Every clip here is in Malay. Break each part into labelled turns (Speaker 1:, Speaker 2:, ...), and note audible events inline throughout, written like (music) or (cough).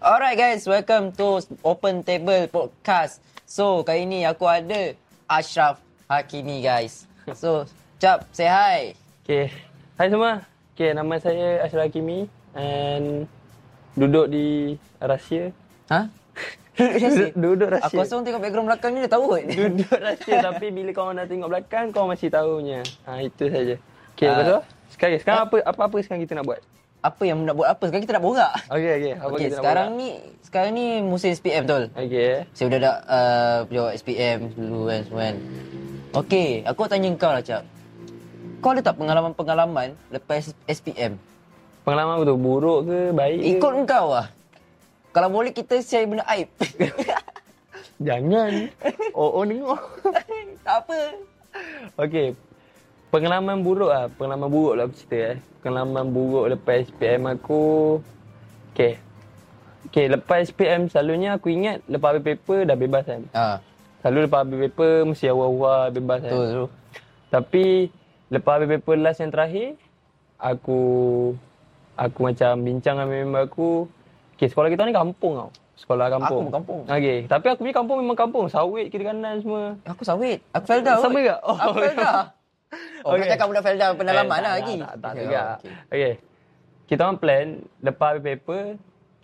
Speaker 1: Alright guys, welcome to Open Table Podcast. So, kali ni aku ada Ashraf Hakimi
Speaker 2: (laughs)
Speaker 1: guys. So, Cap, say hi.
Speaker 2: Okay. Hai semua. Okay, nama saya Ashraf Hakimi and duduk di Rusia.
Speaker 1: Ha? Duduk
Speaker 2: (laughs) duduk Rusia.
Speaker 1: Aku rasa orang tengok background belakang ni dia tahu kot.
Speaker 2: duduk Rusia tapi bila kau dah tengok belakang kau masih tahunya. Ha itu saja. Okay,
Speaker 1: Ah.
Speaker 2: uh, betul? Sekarang sekarang apa apa apa sekarang kita nak buat?
Speaker 1: (laughs) Apa yang nak buat apa? Sekarang kita nak borak.
Speaker 2: Okay, okay. Apa
Speaker 1: Okay,
Speaker 2: kita
Speaker 1: sekarang
Speaker 2: nak
Speaker 1: ni sekarang ni musim SPM betul?
Speaker 2: buat? Okay. eh.
Speaker 1: Saya dah ada uh, jawab SPM dulu kan semua kan. Okey, aku nak tanya kau lah Cap. Kau ada tak pengalaman-pengalaman lepas SPM?
Speaker 2: Pengalaman apa tu? Buruk ke baik? ke?
Speaker 1: Ikut kau lah. Kalau boleh kita share benda aib. (laughs)
Speaker 2: Jangan. (laughs) Oh, oh tengok.
Speaker 1: tak apa.
Speaker 2: Okey. Pengalaman buruk ah, pengalaman buruk lah aku cerita eh. Pengalaman buruk lepas SPM aku. Okey. Okey, lepas SPM selalunya aku ingat lepas habis paper dah bebas kan.
Speaker 1: Ha,
Speaker 2: Selalu lepas habis paper mesti awal-awal bebas kan.
Speaker 1: betul tu.
Speaker 2: Tapi lepas habis paper last yang terakhir aku aku macam bincang dengan member aku. Okey, sekolah kita ni kampung tau. Sekolah kampung.
Speaker 1: pun kampung.
Speaker 2: Okey, tapi aku punya kampung memang kampung. Sawit kiri kanan semua.
Speaker 1: Aku sawit. Aku Felda. kot.
Speaker 2: Sama ke? Oh,
Speaker 1: aku Felda. Oh, okay. kau
Speaker 2: Okey.
Speaker 1: cakap budak Felda pendalaman
Speaker 2: Eh, tak,
Speaker 1: lah
Speaker 2: tak,
Speaker 1: lagi.
Speaker 2: Tak, tak,
Speaker 1: Okay,
Speaker 2: tak.
Speaker 1: okay.
Speaker 2: Okay. okay. Kita orang plan, lepas habis paper,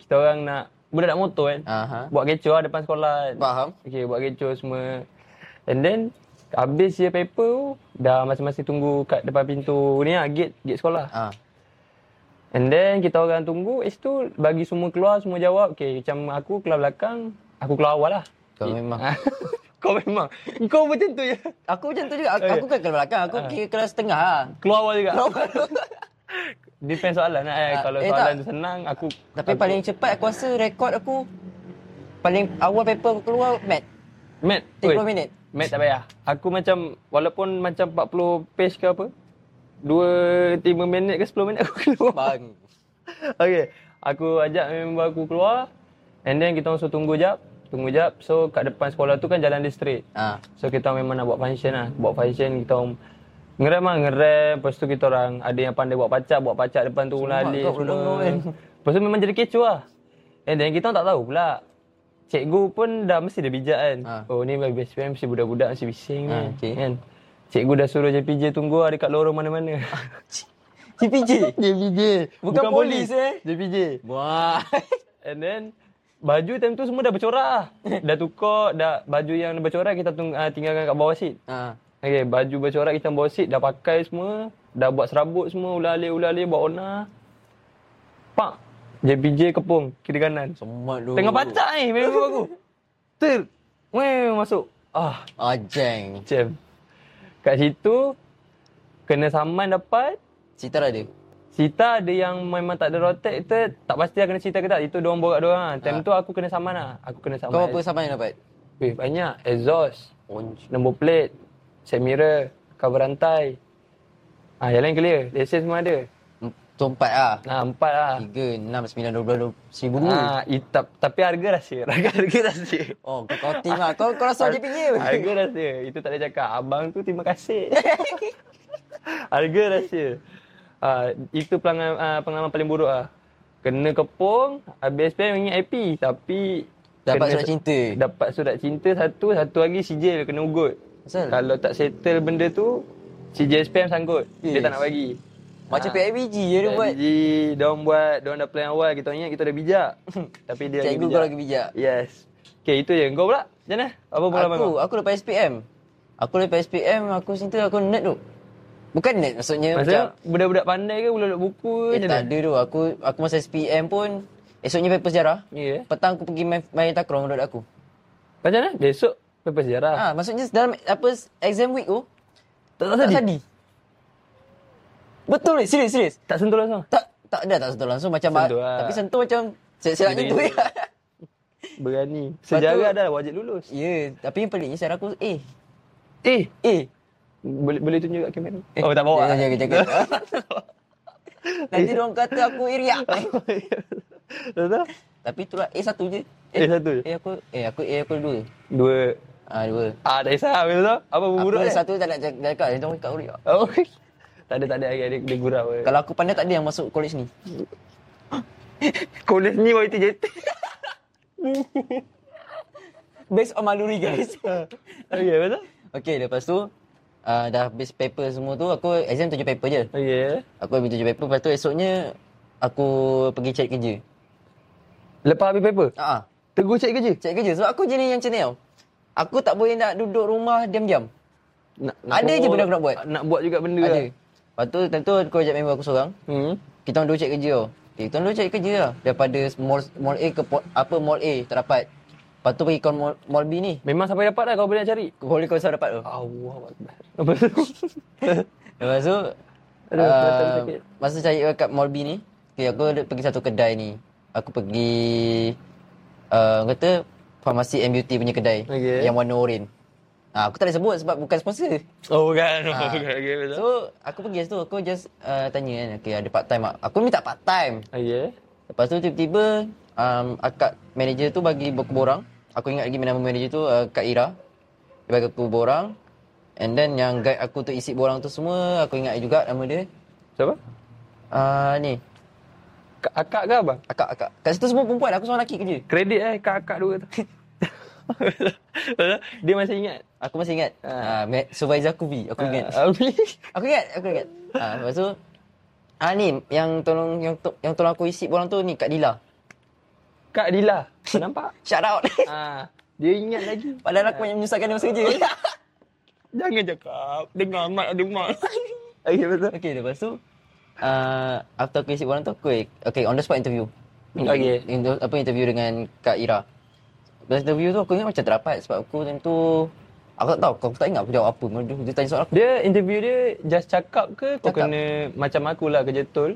Speaker 2: kita orang nak, budak nak motor kan.
Speaker 1: Aha.
Speaker 2: Buat kecoh lah depan sekolah. Kan.
Speaker 1: Faham?
Speaker 2: Okay, buat kecoh semua. And then, habis je paper tu, dah masing-masing tunggu kat depan pintu ni lah, gate, gate sekolah.
Speaker 1: Ha.
Speaker 2: And then, kita orang tunggu, es tu bagi semua keluar, semua jawab. Okay, macam aku keluar belakang, aku keluar awal lah.
Speaker 1: Kau memang.
Speaker 2: (laughs) Kau memang. Kau macam tu je.
Speaker 1: Aku macam tu juga. Aku, aku kan kelas belakang. Aku kira kelas tengah lah.
Speaker 2: Keluar awal juga. (laughs) Depend soalan lah. Eh.
Speaker 1: Ah,
Speaker 2: Kalau
Speaker 1: eh,
Speaker 2: soalan
Speaker 1: tak.
Speaker 2: tu senang, aku...
Speaker 1: Tapi
Speaker 2: aku,
Speaker 1: paling cepat aku rasa rekod aku paling awal paper aku keluar mat
Speaker 2: Matt,
Speaker 1: 30
Speaker 2: oi,
Speaker 1: minit.
Speaker 2: Matt tak payah. Aku macam, walaupun macam 40 page ke apa, 2, 3 minit ke 10 minit (laughs) aku keluar.
Speaker 1: Bang.
Speaker 2: okay. Aku ajak member aku keluar. And then kita orang suruh tunggu jap. Tunggu jap. So kat depan sekolah tu kan jalan dia straight.
Speaker 1: Ha.
Speaker 2: So kita orang memang nak buat function lah. Buat function kita orang ngerem lah ngerem. Lepas tu kita orang ada yang pandai buat pacak. Buat pacak depan tu
Speaker 1: Sumpah
Speaker 2: lalik
Speaker 1: kau bodoh
Speaker 2: semua.
Speaker 1: kan.
Speaker 2: Lepas tu memang jadi kecoh lah. And then kita orang tak tahu pula. Cikgu pun dah mesti dia bijak kan.
Speaker 1: Ha.
Speaker 2: Oh ni best friend mesti budak-budak mesti bising
Speaker 1: Ha,
Speaker 2: ha,
Speaker 1: okey.
Speaker 2: kan. Cikgu dah suruh JPJ tunggu lah dekat lorong mana-mana.
Speaker 1: CPJ.
Speaker 2: JPJ.
Speaker 1: (laughs) Bukan polis, eh.
Speaker 2: JPJ.
Speaker 1: Wah.
Speaker 2: And then baju time tu semua dah bercorak lah. dah tukar, dah baju yang bercorak kita tung, ah, tinggalkan kat bawah seat.
Speaker 1: Ha.
Speaker 2: Okay, baju bercorak hitam bawah seat dah pakai semua, dah buat serabut semua, ular-alir-ular-alir buat ona. Pak, JPJ kepung kiri kanan.
Speaker 1: Semat dulu.
Speaker 2: Tengah pacak ni member aku. Ter. Weh masuk. Ah,
Speaker 1: Ajeng.
Speaker 2: jam. Kat situ kena saman dapat.
Speaker 1: Cerita lah dah ada.
Speaker 2: Sita ada yang memang tak ada rotate kita tak pasti lah kena cerita ke tak. Itu diorang borak diorang. lah.
Speaker 1: Ah.
Speaker 2: Time tu aku kena saman lah. Aku kena saman.
Speaker 1: Kau apa saman yang dapat? Oh,
Speaker 2: Weh, banyak. Exhaust.
Speaker 1: Onj.
Speaker 2: Nombor plate Set mirror Cover rantai Ah, yang lain clear Lesen semua ada
Speaker 1: Tumpat lah.
Speaker 2: Nah, empat lah
Speaker 1: Tiga, enam, sembilan, dua belas, dua seribu.
Speaker 2: ah, itap, Tapi harga rahsia (laughs) Harga rahsia
Speaker 1: (laughs) Oh, kau, kau tim lah. Kau, kau rasa
Speaker 2: (laughs)
Speaker 1: dia pinggir.
Speaker 2: Harga rahsia Itu tak boleh cakap Abang tu terima
Speaker 1: (laughs)
Speaker 2: kasih Harga rahsia ah, Itu pengalaman, ah, pengalaman paling buruk lah Kena kepung Habis PM ingat IP Tapi
Speaker 1: Dapat
Speaker 2: kena-
Speaker 1: surat cinta.
Speaker 2: Dapat surat cinta satu Satu lagi sijil kena ugut
Speaker 1: Asal?
Speaker 2: Kalau tak settle benda tu CJ SPM sangkut Dia
Speaker 1: Yes.
Speaker 2: tak nak bagi
Speaker 1: Macam PIBG je dia buat.
Speaker 2: Jadi Dia orang buat Dia orang dah plan awal Kita ingat kita dah bijak (laughs) Tapi dia lagi
Speaker 1: Cikgu
Speaker 2: bijak
Speaker 1: kau lagi bijak.
Speaker 2: Yes Okay itu je Kau pula Macam mana? Apa pengalaman
Speaker 1: Aku,
Speaker 2: kau?
Speaker 1: aku lepas SPM. Aku lepas SPM, aku cinta aku nerd tu. Bukan nerd maksudnya.
Speaker 2: Maksudnya budak-budak pandai ke Budak-budak buku ke
Speaker 1: Eh,
Speaker 2: Macam
Speaker 1: tak
Speaker 2: mana?
Speaker 1: ada tu. Aku aku masa SPM pun esoknya paper sejarah.
Speaker 2: Ya yeah.
Speaker 1: Petang aku pergi main, main takraw dengan budak aku.
Speaker 2: Macam mana? Besok Paper sejarah
Speaker 1: Ah, maksudnya dalam apa exam week tu
Speaker 2: Tak
Speaker 1: tak sadi. Betul eh, serius serius.
Speaker 2: Tak sentuh langsung
Speaker 1: Tak tak ada tak sentuh langsung macam
Speaker 2: Sentuh lah.
Speaker 1: tapi sentuh macam silap-silap
Speaker 2: Gitu,
Speaker 1: gitu. Ya, (laughs)
Speaker 2: Berani
Speaker 1: tu-
Speaker 2: Sejarah dah wajib lulus
Speaker 1: yeah, Ya, tapi yang peliknya sejarah aku eh
Speaker 2: Eh
Speaker 1: eh
Speaker 2: Boleh boleh tunjuk kat kamera Oh tak bawa (laughs)
Speaker 1: Jangan, jangan, jangan. Nanti diorang kata aku iriak.
Speaker 2: (laughs) Betul?
Speaker 1: tapi itulah A satu je.
Speaker 2: Eh satu je
Speaker 1: Eh aku eh aku A aku dua.
Speaker 2: Dua
Speaker 1: Ah dua.
Speaker 2: Ah tak kisah Betul tak? Apa buruk
Speaker 1: Aku
Speaker 2: dia?
Speaker 1: satu tak nak cakap, dah cakap, jangan cakap iriak.
Speaker 2: Oh, (laughs) okay. tak ada tak ada dia, dia (laughs) gurau. eh.
Speaker 1: Kalau aku pandai tak ada yang masuk college ni.
Speaker 2: (laughs) Kolej ni YTJT.
Speaker 1: Based on maluri guys. (laughs)
Speaker 2: Okay, Oh, ya, betul?
Speaker 1: okay, lepas tu uh, dah habis paper semua tu, aku exam tujuh paper je.
Speaker 2: Okay.
Speaker 1: Aku habis tujuh paper, lepas tu esoknya aku pergi cari kerja.
Speaker 2: Lepas habis paper,
Speaker 1: Ha ah.
Speaker 2: tegur cari kerja.
Speaker 1: Cari kerja sebab aku jenis yang macam ni tau. Aku tak boleh nak duduk rumah diam-diam.
Speaker 2: Nak,
Speaker 1: Ada je benda aku nak buat.
Speaker 2: Nak buat juga benda
Speaker 1: Ada.
Speaker 2: lah.
Speaker 1: Lepas tu tentu tu aku ajak member aku seorang.
Speaker 2: Hmm.
Speaker 1: Kita orang dua cari kerja tau. Okay, kita orang dua cari kerja lah. Daripada mall, mall A ke po- apa mall A tak dapat. Lepas tu pergi ke mall, mall B ni.
Speaker 2: Memang sampai dapat lah kau boleh nak cari.
Speaker 1: Boleh kau dapat tu.
Speaker 2: Allah Akbar. Apa tu?
Speaker 1: Lepas tu
Speaker 2: Aduh,
Speaker 1: ah,
Speaker 2: batang sakit.
Speaker 1: Masa cari kat Mall B ni okay, Aku ada pergi satu kedai ni Aku pergi uh, orang Kata Farmasi and Beauty punya kedai
Speaker 2: Okay.
Speaker 1: Yang warna oren ah, Aku tak boleh sebut sebab bukan sponsor
Speaker 2: (laughs) Oh, bukan.
Speaker 1: Ah.
Speaker 2: Oh, bukan. Okay, betul.
Speaker 1: So aku pergi situ Aku just uh, tanya kan Okay ada part time tak? Aku minta part time
Speaker 2: Okay.
Speaker 1: Lepas tu tiba-tiba um, Akak manager tu bagi buku borang Aku ingat lagi nama manager tu uh, Kak Ira Dia bagi aku borang And then yang guide aku untuk isi borang tu semua Aku ingat juga nama dia
Speaker 2: Siapa?
Speaker 1: Ah ni,
Speaker 2: Kak- Akak ke abang?
Speaker 1: akak-akak. Kat situ semua perempuan, aku seorang lelaki kerja.
Speaker 2: Kredit eh kakak dua tu. (laughs) Dia masih ingat.
Speaker 1: Aku masih ingat. Ah, uh, supervisor aku B, aku ingat.
Speaker 2: Ah, (laughs) Abi.
Speaker 1: Aku ingat, aku ingat. Ah, lepas tu Ah ni yang tolong yang to, yang tolong aku isi borang tu ni Kak Dila.
Speaker 2: Kak Dila. Kau (laughs) nampak?
Speaker 1: Shout out. (laughs)
Speaker 2: Ah, dia ingat lagi.
Speaker 1: Padahal aku yang menyusahkan dia masa kerja.
Speaker 2: Jangan cakap. Dengar mak ada mak. Okey betul.
Speaker 1: okay, lepas tu uh, after aku isi borang tu aku okay, on the spot interview.
Speaker 2: Okey.
Speaker 1: In, apa interview dengan Kak Ira. Lepas interview tu aku ingat macam tak dapat sebab aku tentu aku tak tahu aku, aku tak ingat aku jawab apa. Dia, dia tanya soalan aku.
Speaker 2: (laughs) Dia interview dia just cakap ke kau
Speaker 1: Cakap.
Speaker 2: kena macam akulah kerja tol.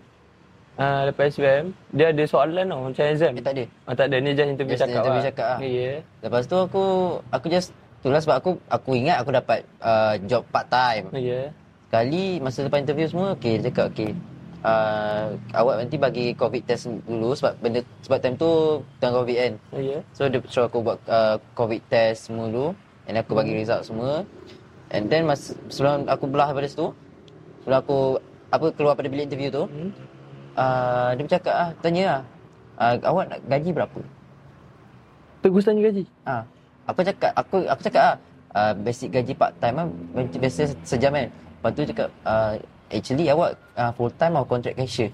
Speaker 2: Ah lepas SPM dia ada soalan tau macam exam.
Speaker 1: Eh, tak ada.
Speaker 2: Ah tak ada ni just interview
Speaker 1: Just
Speaker 2: cakap.
Speaker 1: interview cakap lah.
Speaker 2: Ya. Yeah.
Speaker 1: Lepas tu aku aku just itulah sebab aku aku ingat aku dapat uh, job part time.
Speaker 2: Ya. Yeah.
Speaker 1: Sekali masa lepas interview semua okey dia cakap okey. Uh, awak nanti bagi covid test dulu sebab benda sebab time tu tengah covid kan.
Speaker 2: Ya. Yeah.
Speaker 1: So dia suruh aku buat uh, covid test semua dulu and aku bagi result semua. And then masa sebelum aku belah daripada situ sebelum aku apa keluar pada bilik interview tu
Speaker 2: Hmm.
Speaker 1: uh, dia bercakap ah tanya ah uh, awak nak gaji berapa?
Speaker 2: Tegus tanya gaji.
Speaker 1: Ah, aku cakap aku aku cakap ah uh, basic gaji part time ah gaji biasa sejam kan. Lepas tu cakap ah actually awak ah, full time atau contract cashier?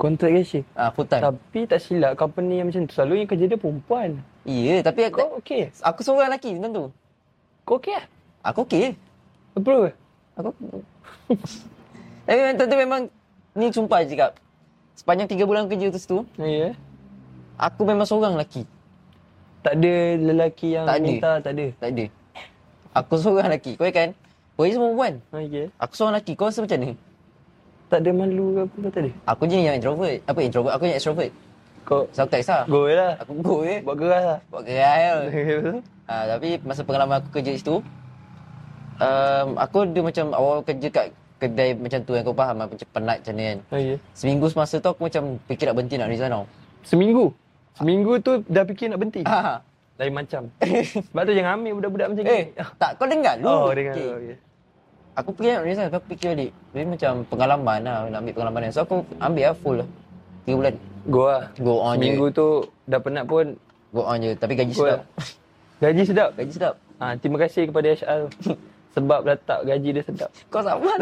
Speaker 2: Kontrak gaji.
Speaker 1: Ah full time.
Speaker 2: Tapi tak silap company yang macam tu selalunya kerja dia perempuan.
Speaker 1: Iya, tapi aku,
Speaker 2: Kau okey?
Speaker 1: aku seorang lelaki tentu.
Speaker 2: Kau okey ah?
Speaker 1: Aku okey.
Speaker 2: Approve? eh?
Speaker 1: Aku (laughs) Tapi memang tentu memang ni sumpah je cakap. Sepanjang 3 bulan kerja tu situ,
Speaker 2: Ya. Yeah.
Speaker 1: aku memang seorang lelaki.
Speaker 2: Tak ada lelaki yang
Speaker 1: Tak ada.
Speaker 2: minta, tak ada.
Speaker 1: Tak ada. Aku seorang lelaki. Kau kan? Kau ni semua perempuan.
Speaker 2: Okey.
Speaker 1: Aku seorang lelaki. Kau rasa macam mana?
Speaker 2: Ah, ya. Tak ada malu ke apa ke tak ada.
Speaker 1: Aku je yang introvert. Apa introvert? Aku yang extrovert.
Speaker 2: Kau
Speaker 1: So aku tak kisah.
Speaker 2: go je lah.
Speaker 1: Aku go je.
Speaker 2: Buat geras lah.
Speaker 1: Buat gerai
Speaker 2: Okey, betul?
Speaker 1: ha, Tapi masa pengalaman aku kerja situ um, Aku dia macam awal kerja kat kedai macam tu yang kau faham lah, Macam penat macam ni kan
Speaker 2: Okey.
Speaker 1: Seminggu semasa tu aku macam fikir nak berhenti nak resign tau
Speaker 2: Seminggu. Seminggu tu dah fikir nak berhenti.
Speaker 1: ha.
Speaker 2: Lain macam. Sebab tu jangan ambil budak-budak macam
Speaker 1: Eh,
Speaker 2: ni.
Speaker 1: tak kau dengar dulu
Speaker 2: Oh, dengar.
Speaker 1: Okey.
Speaker 2: Okay. Okay.
Speaker 1: Aku fikir nak resign tapi aku fikir balik Jadi macam pengalaman lah nak ambil pengalaman kan So aku ambil lah full lah 3 bulan
Speaker 2: Go lah.
Speaker 1: Go on
Speaker 2: Seminggu
Speaker 1: je
Speaker 2: tu dah penat pun
Speaker 1: Go on je Tapi gaji
Speaker 2: go
Speaker 1: sedap
Speaker 2: lah. Gaji sedap.
Speaker 1: Gaji sedap
Speaker 2: Ha, terima kasih kepada HR tu. (laughs) Sebab letak gaji dia sedap.
Speaker 1: Kau sama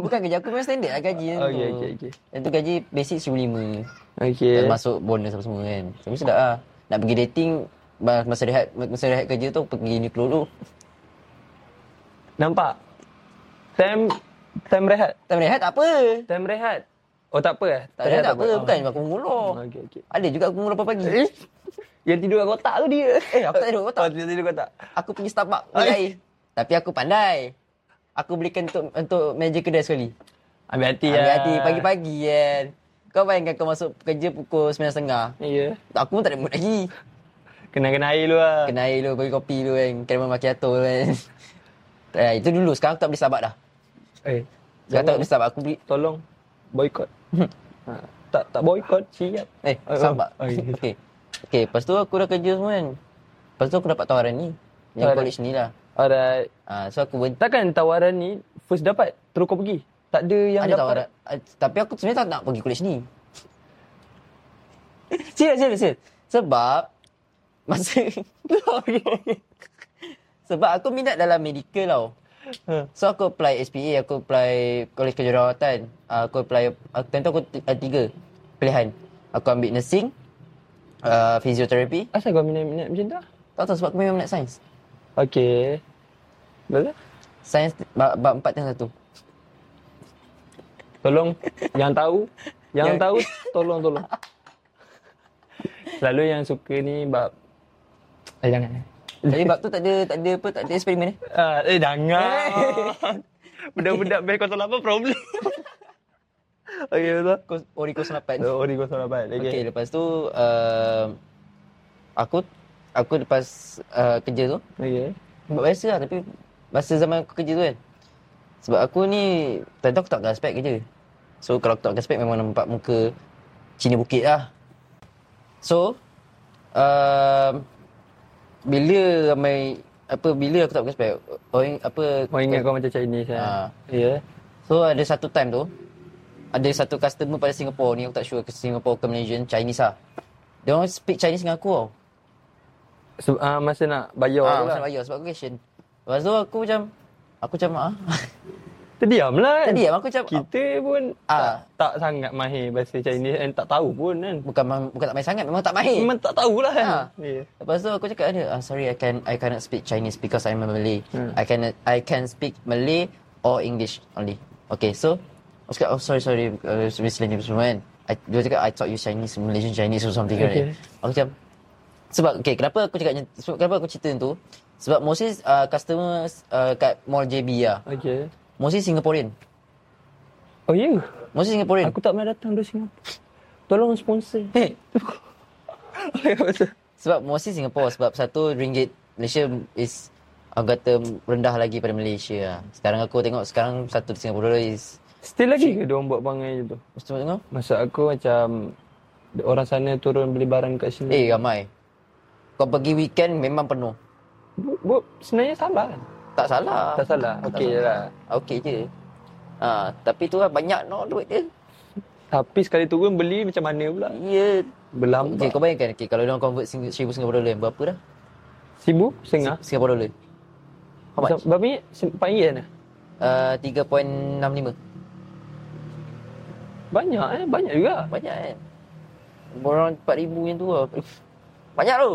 Speaker 2: (laughs)
Speaker 1: Bukan kerja aku memang standard lah gaji yang
Speaker 2: Okey,
Speaker 1: tu
Speaker 2: okey, okey.
Speaker 1: Yang tu gaji basic RM1,500
Speaker 2: Okey.
Speaker 1: Dan masuk bonus apa semua kan. Tapi sedap lah. Nak pergi dating, ba- masa rehat masa rehat kerja tu pergi ni dulu.
Speaker 2: Nampak? Time time rehat.
Speaker 1: Tak rehat tak apa.
Speaker 2: Time rehat. Oh tak apa eh?
Speaker 1: Tak rehat tak apa. Bukan aku ngulur.
Speaker 2: Oh. Okey okey.
Speaker 1: Ada juga aku ngulur pagi.
Speaker 2: Eh? Yang tidur kat kotak tu dia.
Speaker 1: Eh, aku tak tidur kat kotak.
Speaker 2: (laughs) Oh, dia tidur kat kotak.
Speaker 1: Aku pergi Starbucks beli
Speaker 2: Ai.
Speaker 1: air. Tapi aku pandai. Aku belikan untuk untuk meja kedai sekali.
Speaker 2: Ambil hati lah.
Speaker 1: Ya. Hati pagi-pagi kan. Kau bayangkan kau masuk kerja pukul 9.30.
Speaker 2: Ya. Yeah.
Speaker 1: Aku pun tak ada mood lagi.
Speaker 2: Kena kena air dulu lah.
Speaker 1: Kena air dulu, bagi kopi dulu kan. Caramel macchiato dulu kan. (laughs) Eh, itu dulu. Sekarang aku tak beli Starbucks dah. Sekarang
Speaker 2: Eh.
Speaker 1: tak
Speaker 2: Jangan,
Speaker 1: beli Starbucks. Aku beli
Speaker 2: tolong boycott. ha, tak tak boycott siap.
Speaker 1: Eh,
Speaker 2: Oh,
Speaker 1: sabar.
Speaker 2: oh, okay.
Speaker 1: (laughs) Okey. Okey, lepas tu aku dah kerja semua kan. Lepas tu aku dapat tawaran ni. Yang
Speaker 2: Tawaran.
Speaker 1: college ni lah.
Speaker 2: Alright.
Speaker 1: Ah, so aku berhenti.
Speaker 2: Takkan tawaran ni first dapat terus kau pergi. Tak ada yang
Speaker 1: Ada
Speaker 2: dapat.
Speaker 1: tawaran. Ah, tapi aku sebenarnya
Speaker 2: (laughs)
Speaker 1: tak nak pergi college ni. serius, serius, serius. Sebab Masa (laughs) Sebab aku minat dalam medical tau
Speaker 2: Ha.
Speaker 1: So aku apply SPA Aku apply Kolej Kejururawatan uh, Aku apply uh, Tentu aku t- uh, tiga Pilihan Aku ambil nursing uh, Physiotherapy
Speaker 2: Asal kau minat-minat macam tu?
Speaker 1: Tak tahu sebab aku memang minat sains
Speaker 2: Okey. Betul?
Speaker 1: Sains bab, bab 4 dan 1
Speaker 2: (laughs) Tolong yang tahu,
Speaker 1: Yang-
Speaker 2: yang tahu tolong tolong. Selalu yang suka ni bab eh jangan.
Speaker 1: Tapi bab tu tak ada Tak ada apa Tak ada eksperimen eh
Speaker 2: Uh, eh jangan. Eh. (laughs) Budak-budak best kau tolong apa (laughs) problem. Okey betul. Oh,
Speaker 1: Kos- Ori kos 8
Speaker 2: So, ori kau tolong apa?
Speaker 1: Okay,
Speaker 2: Okey.
Speaker 1: lepas tu uh, Aku Aku lepas uh, kerja tu
Speaker 2: Okey.
Speaker 1: Sebab biasa lah tapi Masa zaman aku kerja tu kan Sebab aku ni Tentu aku tak pakai spek kerja So kalau aku tak pakai spek memang nampak muka Cina bukit lah So um, Bila ramai Apa bila aku tak pakai spek Orang apa
Speaker 2: Kau ingat kau macam Chinese kan?
Speaker 1: Eh. Ah.
Speaker 2: Ya.
Speaker 1: So ada satu time tu Ada satu customer pada Singapore ni Aku tak sure ke Singapore ke Malaysian Chinese lah Dia orang speak Chinese dengan aku tau
Speaker 2: So, ah, masa nak bayar
Speaker 1: Ah,
Speaker 2: tu
Speaker 1: masa
Speaker 2: lah.
Speaker 1: nak bayar sebab aku Asian Lepas tu aku macam Aku macam ah. (laughs)
Speaker 2: Terdiam lah kan?
Speaker 1: Tadi aku macam
Speaker 2: Kita pun
Speaker 1: Ah.
Speaker 2: tak, tak sangat mahir bahasa Chinese and tak tahu pun kan.
Speaker 1: bukan ma- bukan tak main sangat memang tak main.
Speaker 2: Memang tak tahulah kan.
Speaker 1: Eh. Ah.
Speaker 2: Ya.
Speaker 1: Lepas tu aku cakap dengan dia, ah, sorry I can I cannot speak Chinese because I'm a Malay.
Speaker 2: Hmm.
Speaker 1: I can I can speak Malay or English only. Okay, so aku cakap, oh sorry sorry uh, misalnya semua kan. I, dia cakap I taught you Chinese, Malaysian Chinese or something
Speaker 2: Okay.
Speaker 1: okay. Aku macam sebab okay, kenapa aku cakap macam- sebab kenapa aku cerita tu? Sebab mostly uh, customer uh, kat Mall JB lah.
Speaker 2: Okey.
Speaker 1: Mostly Singaporean.
Speaker 2: Oh ya. Yeah.
Speaker 1: Mostly Singaporean.
Speaker 2: Aku tak pernah datang dari Singapura. Tolong sponsor. (laughs) Hei.
Speaker 1: Sebab mostly Singapore sebab satu ringgit Malaysia is aku kata rendah lagi pada Malaysia lah. Sekarang aku tengok sekarang satu Singapura dollar is
Speaker 2: Still lagi ke diorang buat perangai macam tu?
Speaker 1: mesti tengok.
Speaker 2: Masa aku macam orang sana turun beli barang kat sini.
Speaker 1: Eh ramai. Kau pergi weekend memang penuh.
Speaker 2: Bu, bu, sebenarnya salah kan?
Speaker 1: Ah. Tak salah.
Speaker 2: Tak salah. Okey je lah.
Speaker 1: Okey je. Ha, tapi tu lah banyak no duit dia.
Speaker 2: Tapi sekali turun beli macam mana pula?
Speaker 1: Ya.
Speaker 2: Berlambat.
Speaker 1: Okay, kau bayangkan okay, kalau dia convert sing- seribu Singapura dollar berapa dah?
Speaker 2: Sibu, Sengah.
Speaker 1: Singapura dollar. How much?
Speaker 2: Berapa ni? RM4 kan?
Speaker 1: Uh, 3.65.
Speaker 2: Banyak eh? Banyak juga.
Speaker 1: Banyak kan? Borang 4,000 yang tu lah. Banyak tu.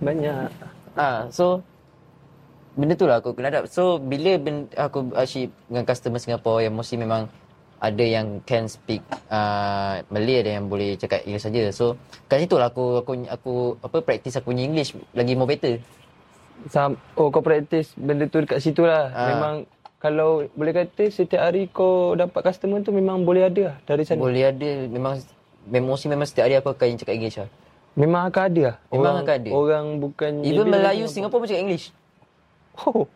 Speaker 2: Banyak.
Speaker 1: Ah, so benda tu lah aku kena adapt. So bila ben, aku actually dengan customer Singapore yang mesti memang ada yang can speak uh, Malay ada yang boleh cakap English saja. So kat situ lah aku aku aku apa practice aku punya English lagi more better.
Speaker 2: Sam, oh kau praktis benda tu dekat situ lah.
Speaker 1: Ah.
Speaker 2: Memang kalau boleh kata setiap hari kau dapat customer tu memang boleh ada lah dari sana. Boleh.
Speaker 1: Boleh ada memang memang mesti memang setiap hari aku akan cakap English lah.
Speaker 2: Memang akan ada lah.
Speaker 1: Memang akan ada.
Speaker 2: Orang bukan...
Speaker 1: Even
Speaker 2: Malay
Speaker 1: Melayu
Speaker 2: pun-
Speaker 1: Singapore pun cakap English.
Speaker 2: (laughs) Oh,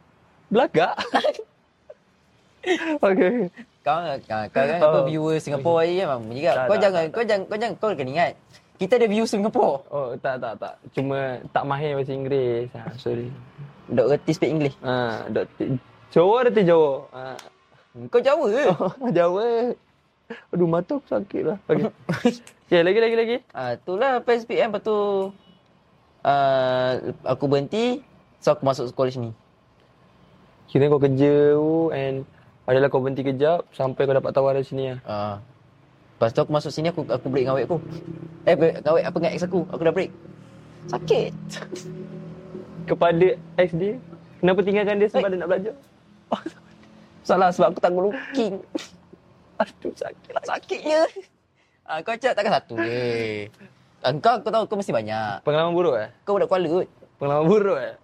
Speaker 2: belagak. (laughs) okay.
Speaker 1: Kau kau, kau kan
Speaker 2: Oh.
Speaker 1: apa viewer Singapore je memang bunyi
Speaker 2: Tak,
Speaker 1: kat. Kau
Speaker 2: tak,
Speaker 1: jangan kau jangan kau jangan kau kena ingat. Kita ada view Singapore.
Speaker 2: Oh, tak, tak, tak. Cuma tak mahir bahasa Inggeris. Ha, sorry.
Speaker 1: Dok reti speak English.
Speaker 2: Ha, doktor. Jawa dia Jawa. Ha.
Speaker 1: Kau Jawa ke?
Speaker 2: (laughs) Jawa. Oh, eh. Aduh, mata aku sakit lah. Okay. okay, lagi, lagi, lagi.
Speaker 1: Ah, itulah PSPM lepas tu ah, aku berhenti so aku masuk sekolah sini.
Speaker 2: Kira kau kerja tu and adalah kau berhenti kejap sampai kau dapat tawaran sini lah.
Speaker 1: Ah. Lepas tu aku masuk sini aku aku break dengan awek aku. Eh break dengan awek apa dengan ex aku? Aku dah break. Sakit. (laughs)
Speaker 2: Kepada ex dia, kenapa tinggalkan dia sebab dia nak belajar?
Speaker 1: Salah sebab aku tak looking.
Speaker 2: Aduh sakit lah.
Speaker 1: Sakitnya. Ah, kau cakap takkan satu je. Ah, kau aku tahu kau mesti banyak.
Speaker 2: Pengalaman buruk eh?
Speaker 1: Kau budak Kuala kot.
Speaker 2: Pengalaman buruk eh?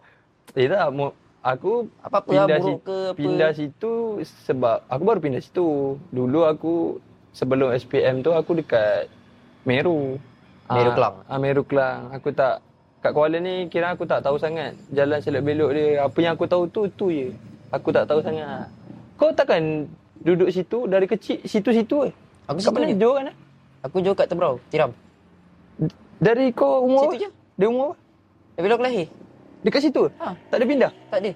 Speaker 2: Eh tak, mu- aku
Speaker 1: Apa-apa lah, buruk ke apa.
Speaker 2: pindah situ sebab aku baru pindah situ. Dulu aku sebelum SPM tu aku dekat Meru.
Speaker 1: Meru
Speaker 2: Ah,
Speaker 1: Kelang.
Speaker 2: Ah, Meru Kelang. Aku tak kat Kuala ni kira aku tak tahu sangat jalan selok belok dia. Apa yang aku tahu tu tu je. Aku tak tahu sangat. Kau takkan duduk situ dari kecil situ-situ eh?
Speaker 1: Aku
Speaker 2: Kau
Speaker 1: situ
Speaker 2: pernah
Speaker 1: je.
Speaker 2: jauh kan? eh?
Speaker 1: Aku jauh kat Tebrau, Tiram.
Speaker 2: Dari kau umur
Speaker 1: Situ je.
Speaker 2: Dia umur apa?
Speaker 1: Eh, Bila aku lahir?
Speaker 2: Dekat situ?
Speaker 1: Ha.
Speaker 2: Tak ada pindah?
Speaker 1: Tak ada.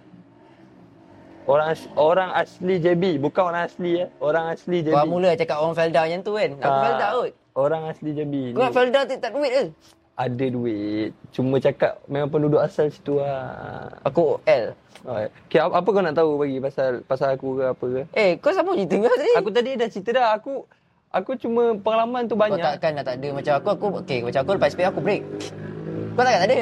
Speaker 2: Orang as- orang asli JB, bukan orang asli eh. Orang asli JB.
Speaker 1: Kau mula cakap orang Felda yang tu kan. Aku
Speaker 2: Ah,
Speaker 1: Felda kot.
Speaker 2: Orang asli JB.
Speaker 1: Kau nak Felda tak tak duit ke?
Speaker 2: ada duit. Cuma cakap memang penduduk asal situ lah.
Speaker 1: Aku L.
Speaker 2: Alright. Okay, apa, apa kau nak tahu bagi pasal pasal aku ke apa ke?
Speaker 1: Eh, kau sama cerita kau tadi?
Speaker 2: Aku tadi dah cerita dah. Aku aku cuma pengalaman tu
Speaker 1: Kau
Speaker 2: banyak.
Speaker 1: takkan dah tak ada macam aku aku okey macam aku lepas SPM aku break. Kau takkan tak ada.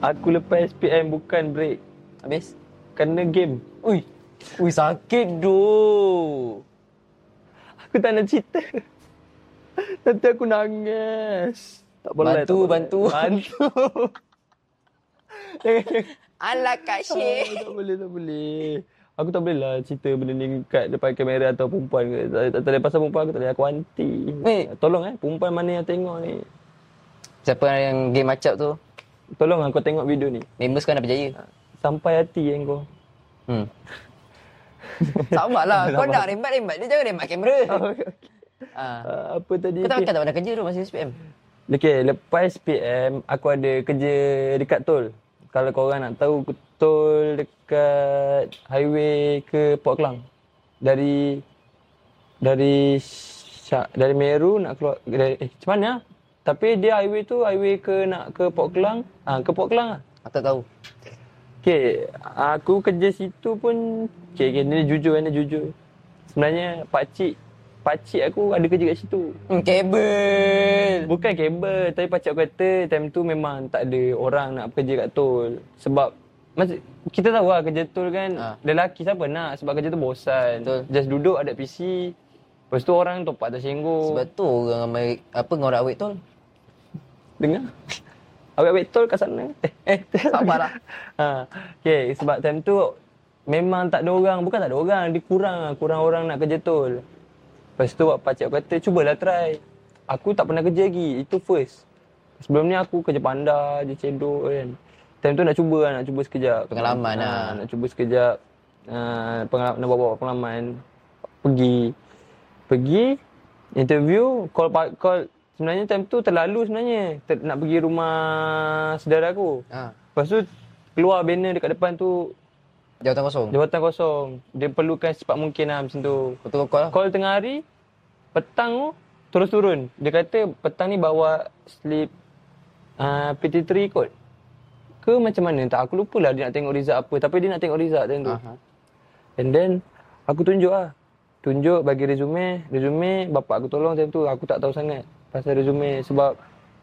Speaker 2: Aku lepas SPM bukan break.
Speaker 1: Habis.
Speaker 2: Kerana game. (laughs)
Speaker 1: Ui. Ui sakit doh.
Speaker 2: Aku tak nak cerita. (laughs) Nanti aku nangis. Tak boleh. lah,
Speaker 1: Bantu,
Speaker 2: tak boleh.
Speaker 1: bantu.
Speaker 2: Bantu.
Speaker 1: (laughs)
Speaker 2: (laughs) Jangan, jangan.
Speaker 1: Ala Kak
Speaker 2: Ah,
Speaker 1: Syekh.
Speaker 2: tak boleh, tak boleh. Aku tak boleh lah cerita benda ni kat depan kamera atau perempuan ke. Tak, tak, tak boleh pasal perempuan aku tak boleh. Aku anti.
Speaker 1: Weh.
Speaker 2: Tolong eh, perempuan mana yang tengok ni.
Speaker 1: Siapa yang game macap tu?
Speaker 2: Tolong aku tengok video ni.
Speaker 1: Members kau nak berjaya.
Speaker 2: Sampai hati yang kau. (laughs)
Speaker 1: Hmm. Sabarlah. kau nak rembat-rembat dia jangan rembat kamera. (laughs) Ha.
Speaker 2: Ah, apa tadi?
Speaker 1: Kau tak
Speaker 2: Okay.
Speaker 1: kata tak pernah kerja tu masa SPM.
Speaker 2: Okay, lepas PM, aku ada kerja dekat tol. Kalau korang nak tahu, aku tol dekat highway ke Port Klang. Dari dari Sya- dari Meru nak keluar dari, eh macam mana? Tapi dia highway tu highway ke nak ke Port Klang, ah ha, ke Port Klang ah.
Speaker 1: Aku tak tahu.
Speaker 2: Okay, aku kerja situ pun okay, okay ni jujur ni jujur. Sebenarnya pakcik pakcik aku ada kerja kat situ.
Speaker 1: Hmm, kabel.
Speaker 2: Bukan kabel Tapi pakcik aku kata Time tu memang tak ada orang nak kerja kat tol Sebab Maksud, kita tahu lah kerja tol kan
Speaker 1: Ha.
Speaker 2: Lelaki siapa nak Sebab kerja tu bosan
Speaker 1: Betul.
Speaker 2: Just duduk ada PC Lepas tu orang topak tak senggol
Speaker 1: Sebab tu orang ramai apa ngorak awet tu.
Speaker 2: Dengar Awet-awet tol kat sana Eh, eh
Speaker 1: Sabarlah.
Speaker 2: (laughs) ha. Okay sebab time tu Memang tak ada orang Bukan tak ada orang Dia kurang lah Kurang orang nak kerja tol Lepas tu pakcik aku kata Cubalah try Aku tak pernah kerja lagi Itu first Sebelum ni aku kerja panda Je cedok kan Time tu nak cuba lah Nak cuba sekejap
Speaker 1: Pengalaman
Speaker 2: Ah,
Speaker 1: lah.
Speaker 2: Nak cuba sekejap uh, pengalaman, Nak bawa-bawa pengalaman Pergi Pergi Interview Call pa- call Sebenarnya time tu terlalu sebenarnya Ter, Nak pergi rumah Saudara aku
Speaker 1: Ha.
Speaker 2: Lepas tu Keluar banner dekat depan tu
Speaker 1: Jawatan kosong.
Speaker 2: Jabatan kosong. Dia perlukan secepat mungkin lah macam tu.
Speaker 1: Kau tunggu call lah.
Speaker 2: Call tengah hari, petang tu terus turun. Dia kata petang ni bawa slip uh, PT3 kot. Ke macam mana tak aku lupa lah dia nak tengok result apa tapi dia nak tengok result time tu.
Speaker 1: Aha.
Speaker 2: And then aku tunjuk lah. Tunjuk bagi resume, resume bapak aku tolong time tu aku tak tahu sangat pasal resume sebab